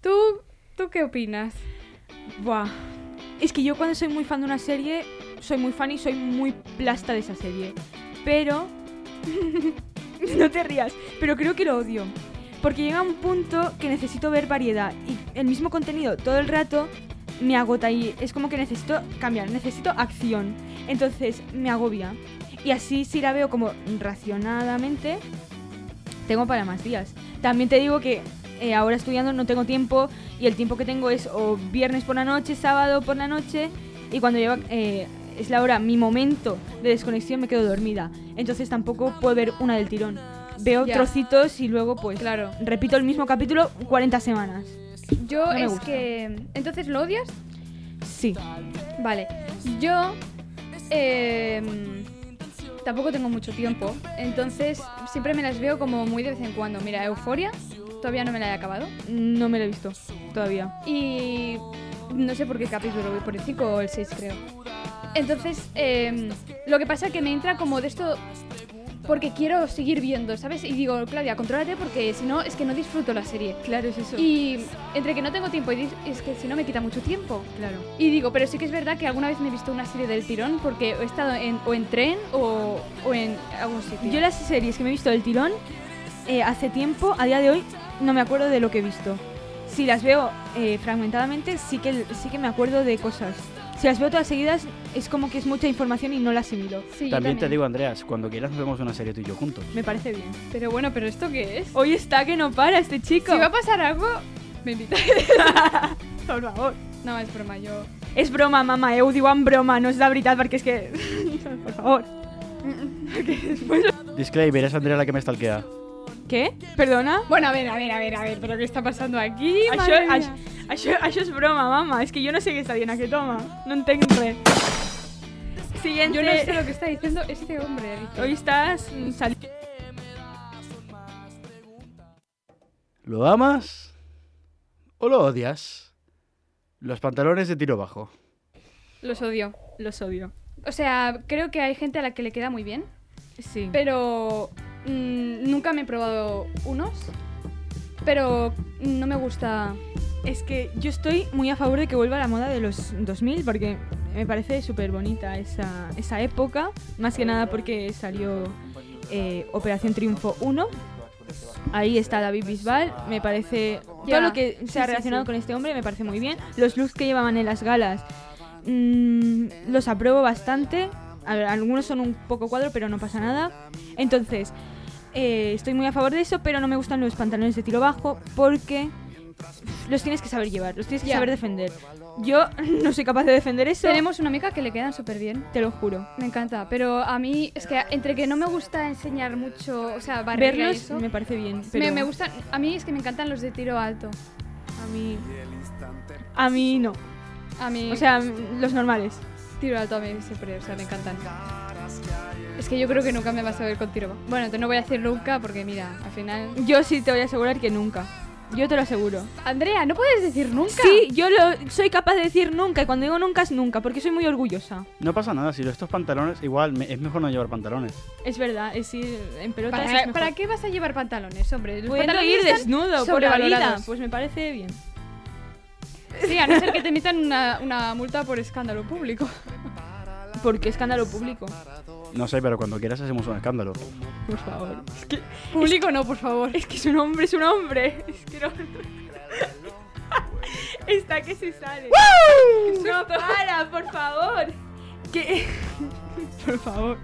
Speaker 3: ¿Tú, ¿Tú qué opinas?
Speaker 2: Buah. Es que yo cuando soy muy fan de una serie, soy muy fan y soy muy plasta de esa serie. Pero... no te rías, pero creo que lo odio. Porque llega un punto que necesito ver variedad y el mismo contenido todo el rato me agota y es como que necesito cambiar, necesito acción. Entonces me agobia. Y así si la veo como racionadamente, tengo para más días. También te digo que eh, ahora estudiando no tengo tiempo y el tiempo que tengo es o viernes por la noche, sábado por la noche y cuando lleva eh, es la hora, mi momento de desconexión me quedo dormida. Entonces tampoco puedo ver una del tirón. Veo
Speaker 3: Ya.
Speaker 2: trocitos y luego pues
Speaker 3: Claro.
Speaker 2: repito el mismo capítulo 40 semanas.
Speaker 3: Yo
Speaker 2: No me
Speaker 3: es
Speaker 2: gusta.
Speaker 3: que... Entonces, ¿lo odias?
Speaker 2: Sí.
Speaker 3: Vale, yo em, tampoco tengo mucho tiempo, entonces siempre me las veo como muy de vez en cuando. Mira, Euforia todavía no me la he acabado
Speaker 2: No me lo he visto todavía.
Speaker 3: y no sé por qué capítulo voy, por el 5 o el 6 creo. Entonces, em, lo que pasa que me entra como de esto porque quiero seguir viendo, ¿sabes? Y digo, Claudia, contrólate porque si no, es que no disfruto la serie.
Speaker 2: Claro, es eso.
Speaker 3: Y entre que no tengo tiempo y dis- es que si no me quita mucho tiempo.
Speaker 2: Claro.
Speaker 3: Y digo, pero sí que es verdad que alguna vez me he visto una serie del tirón porque he estado en, o en tren o, o en algún sitio.
Speaker 2: Yo las series que me he visto del tirón eh, hace tiempo, a día de hoy, no me acuerdo de lo que he visto. Si las veo eh, fragmentadamente, sí que, sí que me acuerdo de cosas. Si las veo todas seguidas, es como que es mucha información y no la asimilo.
Speaker 3: Sí, yo
Speaker 5: También te digo, Andreas, cuando quieras nos vemos una serie tú y yo juntos.
Speaker 2: Me parece bien.
Speaker 3: Pero bueno, ¿pero esto qué es?
Speaker 2: Hoy está que no para este Oh, chico.
Speaker 3: Si va a pasar algo, me invita.
Speaker 2: Por favor.
Speaker 3: no, es broma, yo...
Speaker 2: És broma, mama, eh? Ho diu en broma, no és de veritat, perquè és que... Por favor.
Speaker 5: Disclaimer, es Andrea la que me stalkea.
Speaker 2: Què? Perdona?
Speaker 3: Bueno, a ver, a ver, a ver, a ver, ¿pero qué está pasando aquí?
Speaker 2: Això,
Speaker 3: madre mía?
Speaker 2: això, això, això és broma, mama. És que jo no sé què està dient aquest home. No entenc res. Siguiente.
Speaker 3: Yo no sé lo que está diciendo este hombre. Eric.
Speaker 2: Hoy estás mm, sal-
Speaker 5: ¿Lo amas o lo odias? Los pantalones de tiro bajo.
Speaker 3: Los odio.
Speaker 2: Los odio.
Speaker 3: O sea, creo que hay gente a la que le queda muy bien,
Speaker 2: Sí.
Speaker 3: pero mm, nunca me he probado unos. Pero no me gusta.
Speaker 2: Es que yo estoy muy a favor de que vuelva la moda de los 2000 porque me parece súper bonita esa, esa época. Más que nada porque salió eh, Operación Triunfo 1. Ahí está David Bisbal. Me parece.
Speaker 3: Ya.
Speaker 2: Todo lo que
Speaker 3: Sí,
Speaker 2: se ha
Speaker 3: sí,
Speaker 2: relacionado
Speaker 3: sí.
Speaker 2: con este hombre me parece muy bien. Los looks que llevaban en las galas mm, los apruebo bastante. A ver, algunos son un poco cuadro, pero no pasa nada. Entonces, eh, estoy muy a favor de eso, pero no me gustan los pantalones de tiro bajo porque los tienes que saber llevar, los tienes que
Speaker 3: Ya.
Speaker 2: saber defender. Yo no soy capaz de defender eso.
Speaker 3: Tenemos una amiga que le quedan súper bien.
Speaker 2: Te lo juro.
Speaker 3: Me encanta, pero a mí es que entre que no me gusta enseñar mucho, o sea, barrerla y
Speaker 2: Verlos
Speaker 3: eso,
Speaker 2: me
Speaker 3: me,
Speaker 2: parece bien, pero
Speaker 3: me gustan, a mí es que me encantan los de tiro alto.
Speaker 2: a mí a mí no.
Speaker 3: A mí,
Speaker 2: O sea, los normales.
Speaker 3: tiro alto a mí siempre, o sea, me encantan. Es que yo creo que nunca me vas a ver con tiro. bajo. Bueno, te no voy a decir nunca porque mira, al final.
Speaker 2: Yo sí te voy a asegurar que nunca. Yo te lo aseguro.
Speaker 3: Andrea, no puedes decir nunca.
Speaker 2: Sí, yo lo soy capaz de decir nunca y cuando digo nunca es nunca, porque soy muy orgullosa.
Speaker 5: No pasa nada, si estos pantalones, igual me- es mejor no llevar pantalones.
Speaker 2: Es verdad, es ir en pelotas es
Speaker 3: ¿Para,
Speaker 2: mejor.
Speaker 3: ¿para qué vas a llevar pantalones, hombre? Los
Speaker 2: Pudiendo
Speaker 3: pantalones
Speaker 2: ir
Speaker 3: están
Speaker 2: desnudo por la vida,
Speaker 3: sobrevalorados.
Speaker 2: pues me parece bien.
Speaker 3: Sí, a no ser que te metan una, una multa por escándalo público.
Speaker 2: Porque escándalo público,
Speaker 5: No sé, pero cuando quieras hacemos un escándalo.
Speaker 2: por favor. Es que,
Speaker 3: Público no, por favor.
Speaker 2: es que es un hombre, es un hombre. Es que no... Está que se sale. No para, por favor. Que... por favor.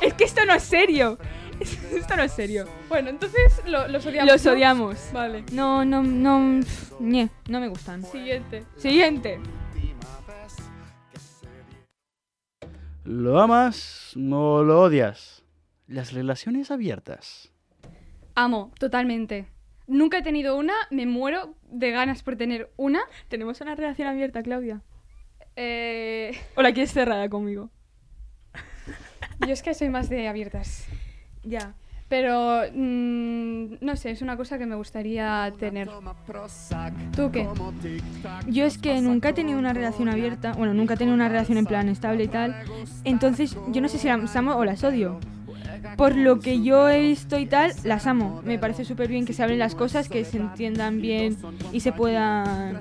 Speaker 2: Es que esto no es serio. Es- Esto no es serio.
Speaker 3: Bueno, entonces lo- los odiamos.
Speaker 2: Los
Speaker 3: ¿no?
Speaker 2: odiamos.
Speaker 3: Vale.
Speaker 2: No, no, no. pf, ñe, no me gustan.
Speaker 3: Siguiente.
Speaker 2: Siguiente.
Speaker 5: ¿Lo amas o lo odias? Las relaciones abiertas.
Speaker 3: Amo, totalmente. Nunca he tenido una, me muero de ganas por tener una.
Speaker 2: Tenemos una relación abierta, Claudia.
Speaker 3: Eh,
Speaker 2: ¿O la quieres cerrada conmigo?
Speaker 3: yo es que soy más de abiertas.
Speaker 2: Ya.
Speaker 3: Pero mm, no sé, es una cosa que me gustaría tener. ¿Tú qué?
Speaker 2: Yo es que nunca he tenido una relación abierta, bueno, nunca he tenido una relación en plan estable y tal. Entonces, yo no sé si las amo o las odio. Por lo que yo he visto y tal, las amo. Me parece súper bien que se hablen las cosas, que se entiendan bien y se pueda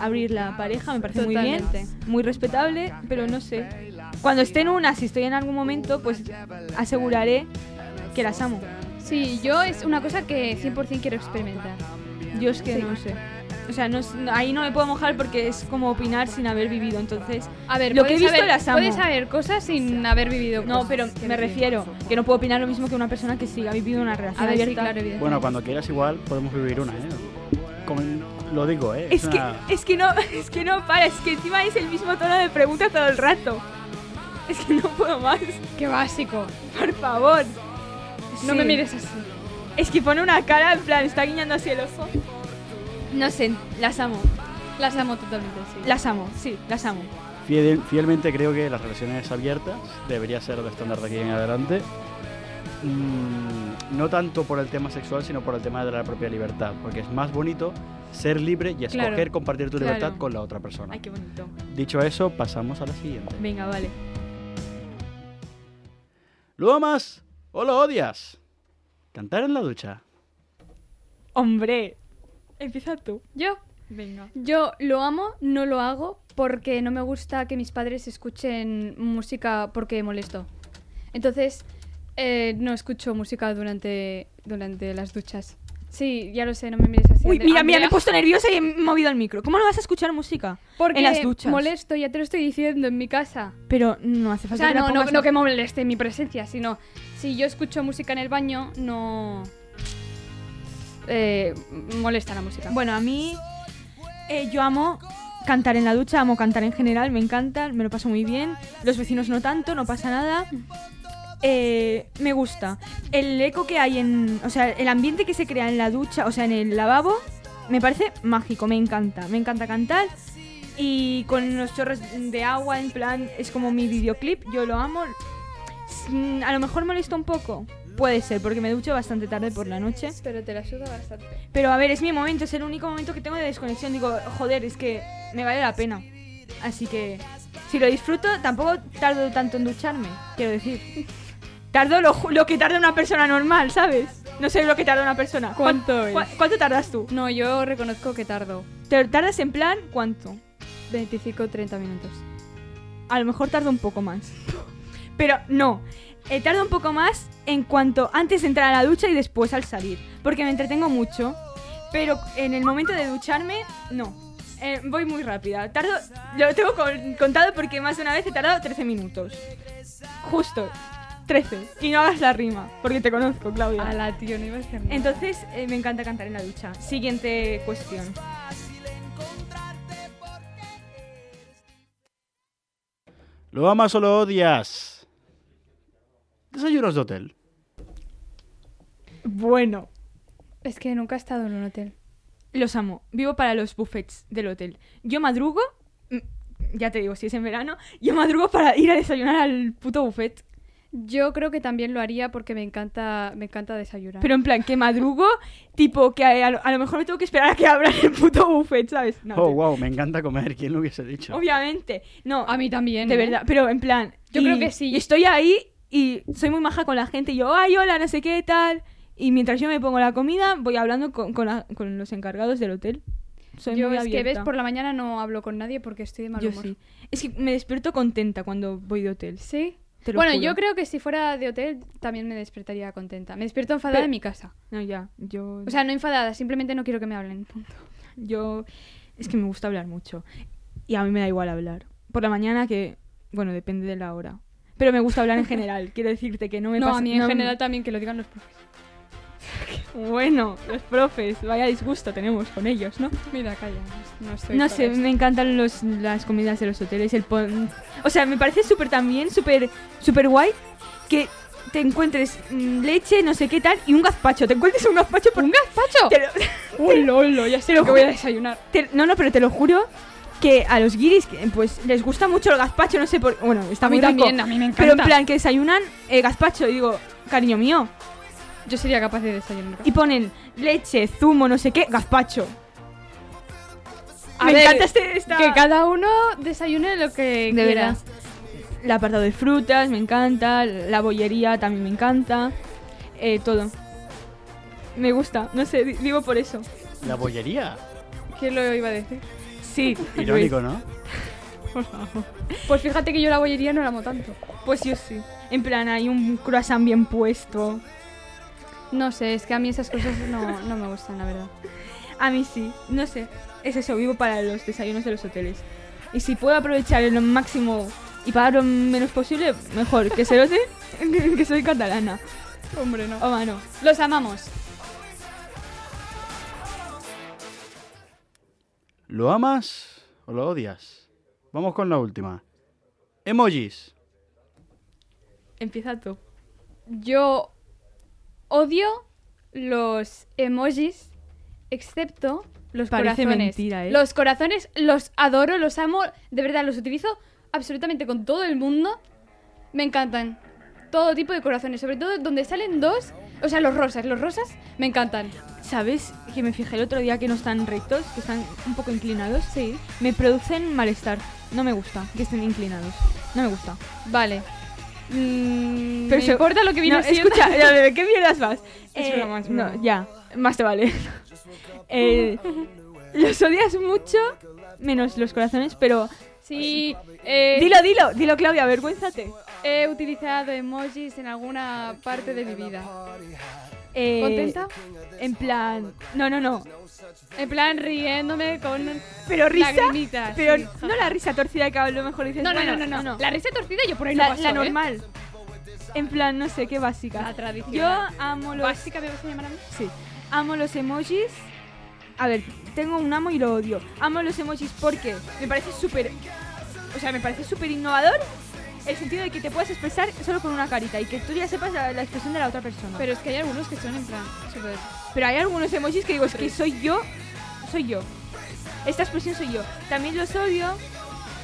Speaker 2: abrir la pareja. Me parece muy bien,
Speaker 3: Totalmente.
Speaker 2: muy respetable, pero no sé. Cuando esté en una, si estoy en algún momento, pues aseguraré que las amo.
Speaker 3: Sí, yo es una cosa que 100% quiero experimentar.
Speaker 2: Yo es que
Speaker 3: Sí.
Speaker 2: no sé. O sea, no es- ahí no me puedo mojar porque es como opinar sin haber vivido, entonces...
Speaker 3: A ver,
Speaker 2: Lo que he
Speaker 3: puedes
Speaker 2: visto
Speaker 3: saber-
Speaker 2: las amo.
Speaker 3: Puedes saber cosas sin haber vivido
Speaker 2: No,
Speaker 3: cosas,
Speaker 2: pero
Speaker 3: quiero
Speaker 2: me
Speaker 3: decir.
Speaker 2: refiero que no puedo opinar lo mismo que una persona que sí ha vivido una relación
Speaker 3: A ver, Ah, sí,
Speaker 2: abierta.
Speaker 3: claro, evidentemente.
Speaker 5: Bueno, cuando quieras igual podemos vivir una, ¿eh? Con- lo digo, ¿eh?
Speaker 2: Es que,
Speaker 5: una-
Speaker 2: es que no, es que no para, es que encima es el mismo tono de pregunta todo el rato. Es que no puedo más,
Speaker 3: Qué básico.
Speaker 2: por favor.
Speaker 3: No
Speaker 2: Sí.
Speaker 3: me mires así.
Speaker 2: Es que pone una cara en plan, está guiñando hacia el ojo. No sé, las amo.
Speaker 3: Las amo totalmente, sí.
Speaker 2: Las amo, sí, las amo.
Speaker 5: Fiel- fielmente creo que las relaciones abiertas debería ser el estándar de aquí en adelante. Mm, no tanto por el tema sexual, sino por el tema de la propia libertad, porque es más bonito ser libre y escoger
Speaker 3: Claro,
Speaker 5: compartir tu
Speaker 3: claro.
Speaker 5: libertad con la otra persona.
Speaker 2: Ay, qué bonito.
Speaker 5: Dicho eso, pasamos a la siguiente.
Speaker 2: Venga, vale.
Speaker 5: ¿Lo amas o lo odias? Cantar en la ducha.
Speaker 2: Hombre, empieza tú.
Speaker 3: Yo,
Speaker 2: Venga.
Speaker 3: yo lo amo, no lo hago porque no me gusta que mis padres escuchen música porque molesto. Entonces, eh, no escucho música durante, durante las duchas. Sí, ya lo sé, no me mires así.
Speaker 2: Uy,
Speaker 3: Ande-
Speaker 2: mira, mira, me he
Speaker 3: Andrea.
Speaker 2: puesto nerviosa y he movido el micro. ¿Cómo no vas a escuchar música?
Speaker 3: Porque
Speaker 2: en las duchas.
Speaker 3: molesto, ya te lo estoy diciendo, en mi casa.
Speaker 2: Pero no hace
Speaker 3: O
Speaker 2: falta
Speaker 3: sea,
Speaker 2: que la
Speaker 3: no, no,
Speaker 2: pongas
Speaker 3: no
Speaker 2: a-
Speaker 3: que moleste mi presencia, sino si yo escucho música en el baño, no eh, molesta la música.
Speaker 2: Bueno, a mí eh, yo amo cantar en la ducha, amo cantar en general, me encanta, me lo paso muy bien. Los vecinos no tanto, no pasa nada. Eh, me gusta. El eco que hay en... O sea, el ambiente que se crea en la ducha, o sea, en el lavabo, me parece mágico, me encanta. Me encanta cantar. Y con los chorros de agua, en plan, es como mi videoclip, yo lo amo. Mm, A lo mejor molesta un poco. Puede ser, porque me ducho bastante tarde por la noche.
Speaker 3: pero te la ayuda bastante.
Speaker 2: Pero a ver, es mi momento, es el único momento que tengo de desconexión. Digo, joder, es que me vale la pena. Así que si lo disfruto, tampoco tardo tanto en ducharme, quiero decir. Tardo lo, ju- lo que tarda una persona normal, ¿sabes? No sé lo que tarda una persona. ¿Cuán-
Speaker 3: ¿Cuánto
Speaker 2: cua-
Speaker 3: es?
Speaker 2: ¿Cuánto tardas tú?
Speaker 3: No, yo reconozco que tardo
Speaker 2: ¿Te tardas en plan cuánto?
Speaker 3: 25 30 minutos.
Speaker 2: A lo mejor tarda un poco más. Pero no, eh, tarda un poco más en cuanto antes de entrar a la ducha y después al salir. Porque me entretengo mucho. Pero en el momento de ducharme, no. Eh, voy muy rápida. Tardo, lo tengo con- contado porque más de una vez he tardado 13 minutos. Justo, 13. Y no hagas la rima, porque te conozco, Claudia.
Speaker 3: A la tío, no iba a hacer nada.
Speaker 2: Entonces eh, me encanta cantar en la ducha. Siguiente cuestión.
Speaker 5: ¿Lo amas o lo odias? Desayunos de hotel.
Speaker 2: Bueno.
Speaker 3: es que nunca he estado en un hotel.
Speaker 2: Los amo. Vivo para los buffets del hotel. Yo madrugo, mm, ya te digo, si es en verano, yo madrugo para ir a desayunar al puto buffet.
Speaker 3: Yo creo que también lo haría porque me encanta me encanta desayunar.
Speaker 2: Pero en plan, que madrugo, tipo, que a, a lo, a lo mejor me tengo que esperar a que abran el puto buffet, ¿sabes? No,
Speaker 5: Oh,
Speaker 2: te-
Speaker 5: wow, me encanta comer. ¿Quién lo hubiese dicho?
Speaker 2: Obviamente. No,
Speaker 3: a mí también.
Speaker 2: de
Speaker 3: ¿eh?
Speaker 2: verdad, pero en plan.
Speaker 3: Yo
Speaker 2: y-
Speaker 3: creo que sí.
Speaker 2: Y estoy ahí y soy muy maja con la gente. y Yo, ay, hola, no sé qué tal. Y mientras yo me pongo la comida, voy hablando con, con la- con los encargados del hotel. Soy
Speaker 3: Yo
Speaker 2: muy
Speaker 3: es que ves
Speaker 2: abierta.
Speaker 3: por la mañana no hablo con nadie porque estoy de mal
Speaker 2: Yo
Speaker 3: humor.
Speaker 2: sí. Es que me despierto contenta cuando voy de hotel.
Speaker 3: ¿Sí?
Speaker 2: Te lo
Speaker 3: Bueno,
Speaker 2: juro.
Speaker 3: yo creo que si fuera de hotel también me despertaría contenta. Me despierto enfadada
Speaker 2: Pero-
Speaker 3: en mi casa.
Speaker 2: No, ya. Yo.
Speaker 3: O sea, no enfadada, simplemente no quiero que me hablen. punto.
Speaker 2: yo. Es que me gusta hablar mucho. Y a mí me da igual hablar. Por la mañana, que. Bueno, depende de la hora. Pero me gusta hablar en general. Quiero decirte que no me
Speaker 3: No,
Speaker 2: pasa.
Speaker 3: a mí en
Speaker 2: no me-
Speaker 3: general también que lo digan los profes.
Speaker 2: Bueno, los profes. Vaya disgusto tenemos con ellos, ¿no?
Speaker 3: Mira, calla, no estoy
Speaker 2: No
Speaker 3: para
Speaker 2: sé,
Speaker 3: esto.
Speaker 2: me encantan los, las comidas de los hoteles, el pon... O sea, me parece súper también, súper súper guay que te encuentres mm, leche, no sé qué tal, y un gazpacho. Te encuentres un gazpacho por...
Speaker 3: ¿Un gazpacho?
Speaker 2: Te lo-
Speaker 3: ¡Uy, lolo! Ya sé lo que voy a desayunar.
Speaker 2: Te- no, no, pero te lo juro que a los guiris que, pues les gusta mucho el gazpacho, no sé por... Bueno, está
Speaker 3: A mí
Speaker 2: muy rico,
Speaker 3: también, a mí me encanta.
Speaker 2: Pero en plan que desayunan eh, gazpacho y digo, cariño mío,
Speaker 3: Yo sería capaz de desayunar.
Speaker 2: y ponen leche, zumo, no sé qué, gazpacho.
Speaker 3: A
Speaker 2: me
Speaker 3: ver,
Speaker 2: encanta este, esta-
Speaker 3: Que cada uno desayune lo
Speaker 2: de
Speaker 3: que quiera.
Speaker 2: veras. El apartado de frutas me encanta, la bollería también me encanta, eh, todo. Me gusta, no sé, di- digo por eso.
Speaker 5: La bollería.
Speaker 3: ¿Quién lo iba a decir?
Speaker 2: Sí,
Speaker 5: Irónico, ¿no?
Speaker 3: Pues fíjate que yo la bollería no la amo tanto.
Speaker 2: pues yo sí. En plan, hay un croissant bien puesto.
Speaker 3: No sé, es que a mí esas cosas no, no me gustan, la verdad.
Speaker 2: A mí sí, no sé. Es eso, vivo para los desayunos de los hoteles. Y si puedo aprovechar en lo máximo y pagar lo menos posible, mejor. Que se lo sé, que soy catalana.
Speaker 3: Hombre, no.
Speaker 2: O mano.
Speaker 3: Los amamos.
Speaker 5: ¿Lo amas o lo odias? Vamos con la última. Emojis.
Speaker 2: Empieza tú.
Speaker 3: Yo odio los emojis, excepto los
Speaker 2: Parece
Speaker 3: corazones.
Speaker 2: mentira, ¿eh?
Speaker 3: Los corazones los adoro, los amo, de verdad, los utilizo absolutamente con todo el mundo. Me encantan. Todo tipo de corazones, sobre todo donde salen dos, O sea, los rosas, los rosas me encantan.
Speaker 2: ¿Sabes que me fijé el otro día que no están rectos, que están un poco inclinados?
Speaker 3: Sí.
Speaker 2: Me producen malestar. No me gusta que estén inclinados. No me gusta.
Speaker 3: Vale. Mm,
Speaker 2: Pero
Speaker 3: me
Speaker 2: se-
Speaker 3: importa lo que viene
Speaker 2: No,
Speaker 3: siendo.
Speaker 2: escucha, ya, ¿de qué mierdas vas? Eh,
Speaker 3: Es broma, es broma.
Speaker 2: No, ya, más te vale. Eh, los odias mucho, menos los corazones, pero...
Speaker 3: Sí, eh,
Speaker 2: Dilo, dilo, dilo, Claudia, avergüénzate.
Speaker 3: he utilizado emojis en alguna parte de mi vida.
Speaker 2: Eh,
Speaker 3: ¿Contenta?
Speaker 2: En plan... No, no, no.
Speaker 3: En plan, riéndome con
Speaker 2: Pero risa...
Speaker 3: lagrimitas.
Speaker 2: Pero
Speaker 3: sí.
Speaker 2: no la risa torcida que a lo mejor dices...
Speaker 3: no, no,
Speaker 2: bueno,
Speaker 3: no, no, no, La risa torcida yo por ahí
Speaker 2: La,
Speaker 3: no paso,
Speaker 2: la
Speaker 3: ¿eh?
Speaker 2: normal. En plan, no sé, qué
Speaker 3: La
Speaker 2: básica. Yo
Speaker 3: tradicional.
Speaker 2: amo los...
Speaker 3: ¿Básica me vas a llamar a mí?
Speaker 2: Sí. Amo los emojis. A ver, tengo un amo y lo odio. Amo los emojis porque me parece súper. O sea, me parece súper innovador el sentido de que te puedas expresar solo con una carita y que tú ya sepas la, la expresión de la otra persona. Pero,
Speaker 3: Pero es que hay algunos que son en plan súper...
Speaker 2: pero hay algunos emojis que digo, es que soy yo, soy yo. Esta expresión soy yo. También los odio.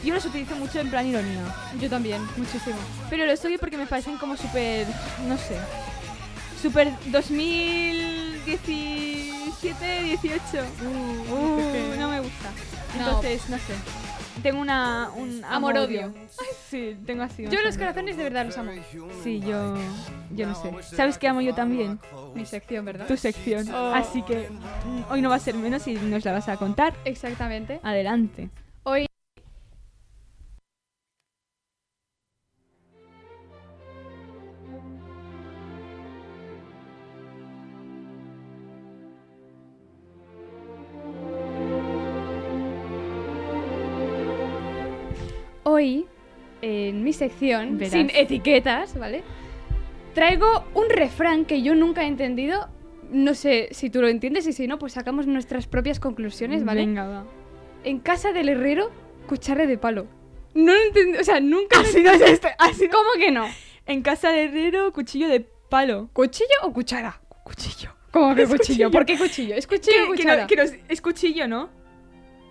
Speaker 2: Yo los utilizo mucho en plan ironía.
Speaker 3: Yo también, muchísimo.
Speaker 2: Pero los odio porque me parecen como súper. No sé. Súper 2017, 18. Uh, no me gusta.
Speaker 3: No.
Speaker 2: Entonces, no, sé. Tengo una. Un
Speaker 3: Amor-odio.
Speaker 2: amor-odio. Sí, tengo así. más
Speaker 3: Yo
Speaker 2: o
Speaker 3: los
Speaker 2: menos.
Speaker 3: corazones de verdad los amo.
Speaker 2: Sí, yo. Yo no sé. ¿Sabes qué amo yo también?
Speaker 3: Mi sección, ¿verdad?
Speaker 2: Tu sección.
Speaker 3: Oh.
Speaker 2: Así que mm, hoy no va a ser menos y nos la vas a contar.
Speaker 3: Exactamente.
Speaker 2: Adelante.
Speaker 3: Hoy... Hoy, en mi sección,
Speaker 2: Verás.
Speaker 3: sin etiquetas, ¿vale? Traigo un refrán que yo nunca he entendido. No sé si tú lo entiendes y si no, pues sacamos nuestras propias conclusiones, ¿vale?
Speaker 2: Venga, va.
Speaker 3: En casa del herrero, cuchara de palo. No lo entendí, o sea, nunca...
Speaker 2: Así no es este. Así no-
Speaker 3: ¿Cómo que no?
Speaker 2: En casa de herrero, cuchillo de palo.
Speaker 3: ¿Cuchillo o cuchara?
Speaker 2: Cuchillo.
Speaker 3: ¿Cómo que
Speaker 2: Es
Speaker 3: cuchillo?
Speaker 2: cuchillo.
Speaker 3: ¿Por qué cuchillo? ¿Es cuchillo o
Speaker 2: que, que
Speaker 3: cuchara?
Speaker 2: no- que nos- es cuchillo, ¿no?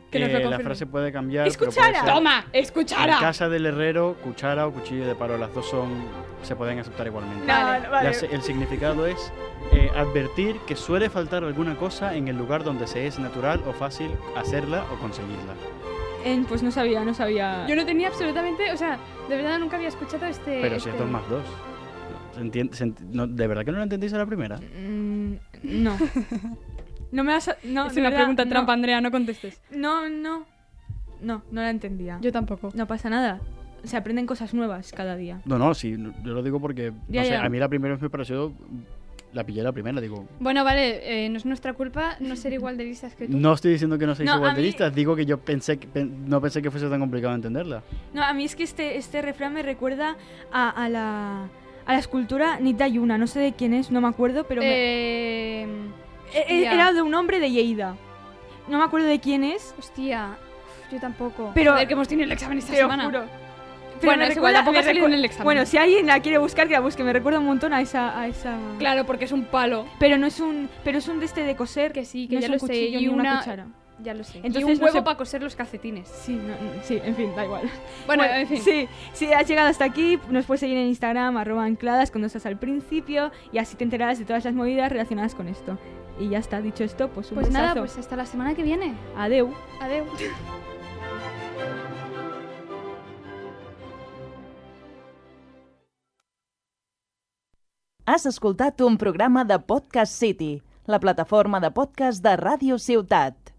Speaker 3: Que nos lo
Speaker 5: Eh, la
Speaker 3: confirme.
Speaker 5: frase puede cambiar.
Speaker 2: Es
Speaker 5: pero puede
Speaker 2: cuchara.
Speaker 5: ser-
Speaker 3: ¡Toma! ¡Es
Speaker 5: En
Speaker 3: cuchara!
Speaker 5: casa del herrero, cuchara o cuchillo de palo, las dos son se pueden aceptar igualmente.
Speaker 2: No,
Speaker 3: Vale.
Speaker 2: no, vale.
Speaker 5: Las- el significado es eh, advertir que suele faltar alguna cosa en el lugar donde se es natural o fácil hacerla o conseguirla.
Speaker 2: En- pues no sabía, no sabía.
Speaker 3: Yo no tenía absolutamente... O sea, de verdad nunca había escuchado este...
Speaker 5: Pero si
Speaker 3: este-
Speaker 5: es dos más dos. ¿Se entien- se ent- no, ¿De verdad que no lo entendéis a la primera?
Speaker 2: Mm, no. No me vas a- no,
Speaker 3: es
Speaker 2: de
Speaker 3: una
Speaker 2: verdad,
Speaker 3: pregunta
Speaker 2: no.
Speaker 3: trampa, Andrea, no contestes.
Speaker 2: No, no. No, no la entendía.
Speaker 3: Yo tampoco.
Speaker 2: No pasa nada. Se aprenden cosas nuevas cada día.
Speaker 5: No, no, sí, no- yo lo digo porque no
Speaker 2: Ya,
Speaker 5: sé,
Speaker 2: ya.
Speaker 5: a mí la primera vez me pareció. La pillé la primera, digo.
Speaker 3: Bueno, vale, eh, no es nuestra culpa no ser igual de listas que tú.
Speaker 5: No estoy diciendo que no seáis
Speaker 2: No, a
Speaker 5: igual de
Speaker 2: mí-
Speaker 5: listas, digo que yo pensé que, pen- no pensé que fuese tan complicado entenderla.
Speaker 2: No, a mí es que este, este refrán me recuerda a, a la. A la escultura Nitayuna, no sé de quién es, no me acuerdo, pero me-
Speaker 3: Eh,
Speaker 2: e- e-
Speaker 3: ya.
Speaker 2: era de un hombre de Lleida. No me acuerdo de quién es,
Speaker 3: Hostia, uf, yo tampoco.
Speaker 2: Pero-
Speaker 3: Joder, que hemos tenido el examen esta
Speaker 2: Te lo
Speaker 3: semana.
Speaker 2: juro.
Speaker 3: Bueno,
Speaker 2: me
Speaker 3: es igual, tampoco
Speaker 2: me
Speaker 3: salí
Speaker 2: recu-
Speaker 3: con el examen.
Speaker 2: Bueno, si alguien la quiere buscar, que la busque. Me recuerda un montón a esa... A esa...
Speaker 3: Claro, porque es un palo.
Speaker 2: Pero no es un... Pero es un de este de coser.
Speaker 3: Que sí, que
Speaker 2: no
Speaker 3: ya
Speaker 2: es
Speaker 3: lo
Speaker 2: un
Speaker 3: sé,
Speaker 2: cuchillo ni
Speaker 3: y una-
Speaker 2: cuchara.
Speaker 3: Ya lo sé.
Speaker 2: Entonces
Speaker 3: y un
Speaker 2: no
Speaker 3: huevo
Speaker 2: se-
Speaker 3: para coser los calcetines.
Speaker 2: Sí, no- no- sí, en fin, da igual.
Speaker 3: Bueno, en fin.
Speaker 2: Sí, si has llegado hasta aquí, nos puedes seguir en Instagram, arroba ancladas cuando estás al principio y así te enterarás de todas las movidas relacionadas con esto. Y ya está, dicho esto, pues un
Speaker 3: Pues nada,
Speaker 2: besazo.
Speaker 3: pues hasta la semana que viene.
Speaker 2: Adeu.
Speaker 3: Adeu.
Speaker 1: Has escoltat un programa de Podcast City, la plataforma de podcast de Ràdio Ciutat.